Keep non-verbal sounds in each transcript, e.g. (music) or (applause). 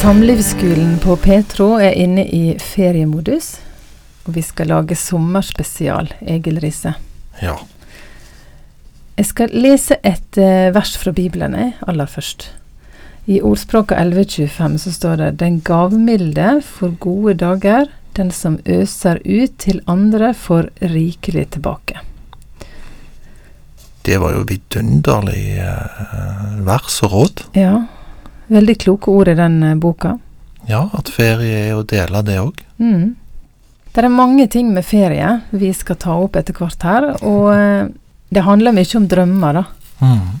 Samlivsskolen på Petro er inne i feriemodus, og vi skal lage sommerspesial, Egil Riise. Ja. Jeg skal lese et eh, vers fra Bibelen jeg, aller først. I ordspråket 1125 så står det Den gavmilde får gode dager, den som øser ut til andre får rikelig tilbake. Det var jo vidunderlig eh, vers og råd. Ja, veldig kloke ord i den eh, boka. Ja, at ferie er å dele det òg. Mm. Det er mange ting med ferie vi skal ta opp etter hvert her, og eh, det handler mye om drømmer, da. Mm.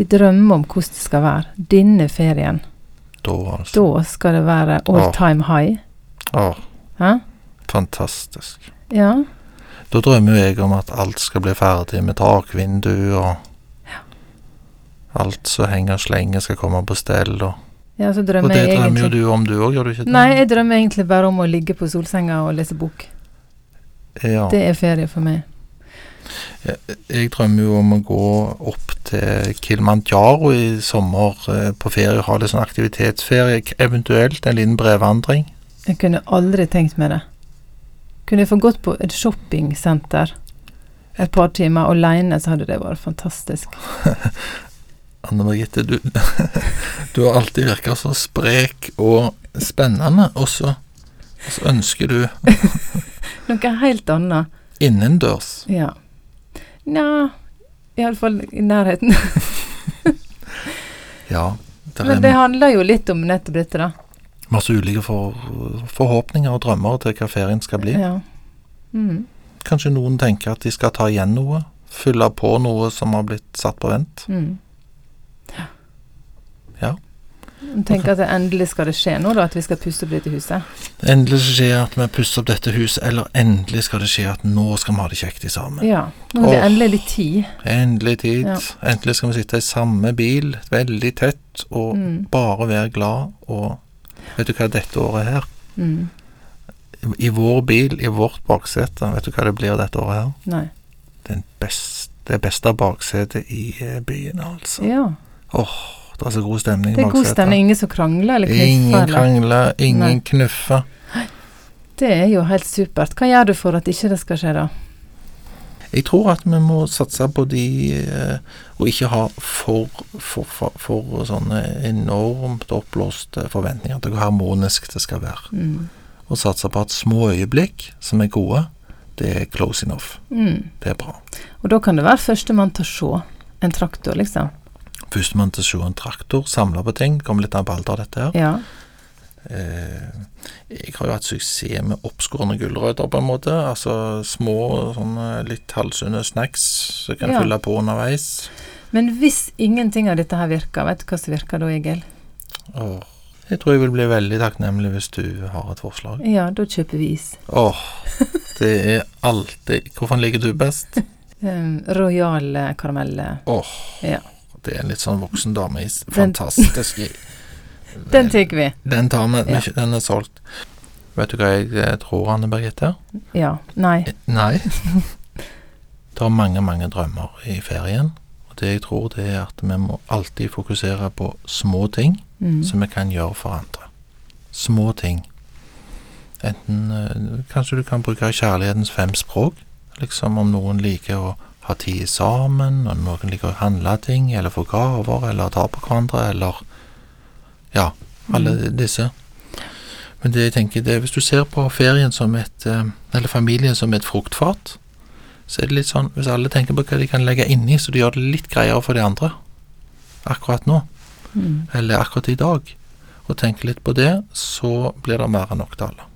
Vi drømmer om hvordan det skal være. Denne ferien. Da, altså. Da skal det være all Ja. time high. Å, Hæ? fantastisk. Ja. Da drømmer jo jeg om at alt skal bli ferdig med takvindu og Alt som henger og slenger skal komme på stell og ja, så Og drømmer det jeg drømmer jo egentlig du om du òg, gjør du ikke det? Nei, jeg drømmer egentlig bare om å ligge på solsenga og lese bok. Ja. Det er ferie for meg. Jeg drømmer jo om å gå opp til Kilimanjaro i sommer eh, på ferie, ha litt sånn aktivitetsferie, k- eventuelt en liten brevvandring. Jeg kunne aldri tenkt meg det. Kunne jeg få gått på et shoppingsenter et par timer aleine, så hadde det vært fantastisk. Anne Margitte, du, (laughs) du har alltid virka så sprek og spennende, og så, og så ønsker du Noe helt annet. innendørs. Ja. Nja Iallfall i nærheten. Ja, det Men det er handler jo litt om nettopp dette, da. masse ulike for, forhåpninger og drømmer til hva ferien skal bli. Ja. Mm. Kanskje noen tenker at de skal ta igjen noe, fylle på noe som har blitt satt på vent. Mm. Ja. Jeg tenker at det endelig skal det skje nå, da, at vi skal puste opp litt i huset. Endelig skal det skje at vi pusser opp dette huset, eller endelig skal det skje at nå skal vi ha det kjekt i sammen. Ja. Nå er det Åh. endelig litt tid. Endelig tid. Ja. Endelig skal vi sitte i samme bil, veldig tett, og Mm. bare være glad og Vet du hva dette året her? Mm. I vår bil, i vårt baksete, vet du hva det blir dette året her? Nei. Den best, det beste baksetet i eh, byen, altså. Ja. Det er så god stemning Det i er god baksetet. stemning. Ingen som krangler eller knuffer. Ingen Eller. krangler, ingen Nei. knuffer. Det er jo helt supert. Hva gjør du for at ikke det skal skje, da? Jeg tror at vi må satse på de eh, Og ikke ha for, for, for, for sånne enormt oppblåste forventninger til hvor harmonisk det skal være. Mm. Og satse på at små øyeblikk som er gode, det er close enough. Mm. Det er bra. Og da kan det være førstemann til å se. En traktor, liksom. Førstemann til å se en traktor, samle på ting. Kommer litt an på alder, dette her. Ja. Eh, jeg har jo hatt suksess med oppskårne gulrøtter, på en måte. Altså små, sånne litt halvsunne snacks som kan Ja. fylle på underveis. Men hvis ingenting av dette her virker, vet du hva som virker da, Egil? Åh, Jeg tror jeg vil bli veldig takknemlig hvis du har et forslag. Ja, da kjøper vi is. Åh, det er alltid Hvorfor liker du best? Um, Royal eh, karamell. eh. Åh, Ja. det er en litt sånn voksen dameis. Den- Fantastisk. Den tar vi. Den tar vi. (laughs) Ja. men Den er solgt. Vet du hva jeg eh, tror, Anne Birgitte? Ja. Nei. Eh, Nei. (laughs) Det er mange, mange drømmer i ferien. Og det jeg tror, det er at vi må alltid fokusere på små ting. Mm. som vi kan gjøre for andre. Små ting. Enten eh, Kanskje du kan bruke kjærlighetens fem språk. Liksom om noen liker å ha tid sammen, og noen liker å handle ting, eller få gaver, eller ta på hverandre, eller Ja, alle disse. Men det jeg tenker, det er hvis du ser på ferien som et eh, Eller familien som et fruktfat, så er det litt sånn Hvis alle tenker på hva de kan legge inni, så de gjør det litt greiere for de andre akkurat nå Mm. eller akkurat i dag, og tenker litt på det, så blir det mer enn nok til alle.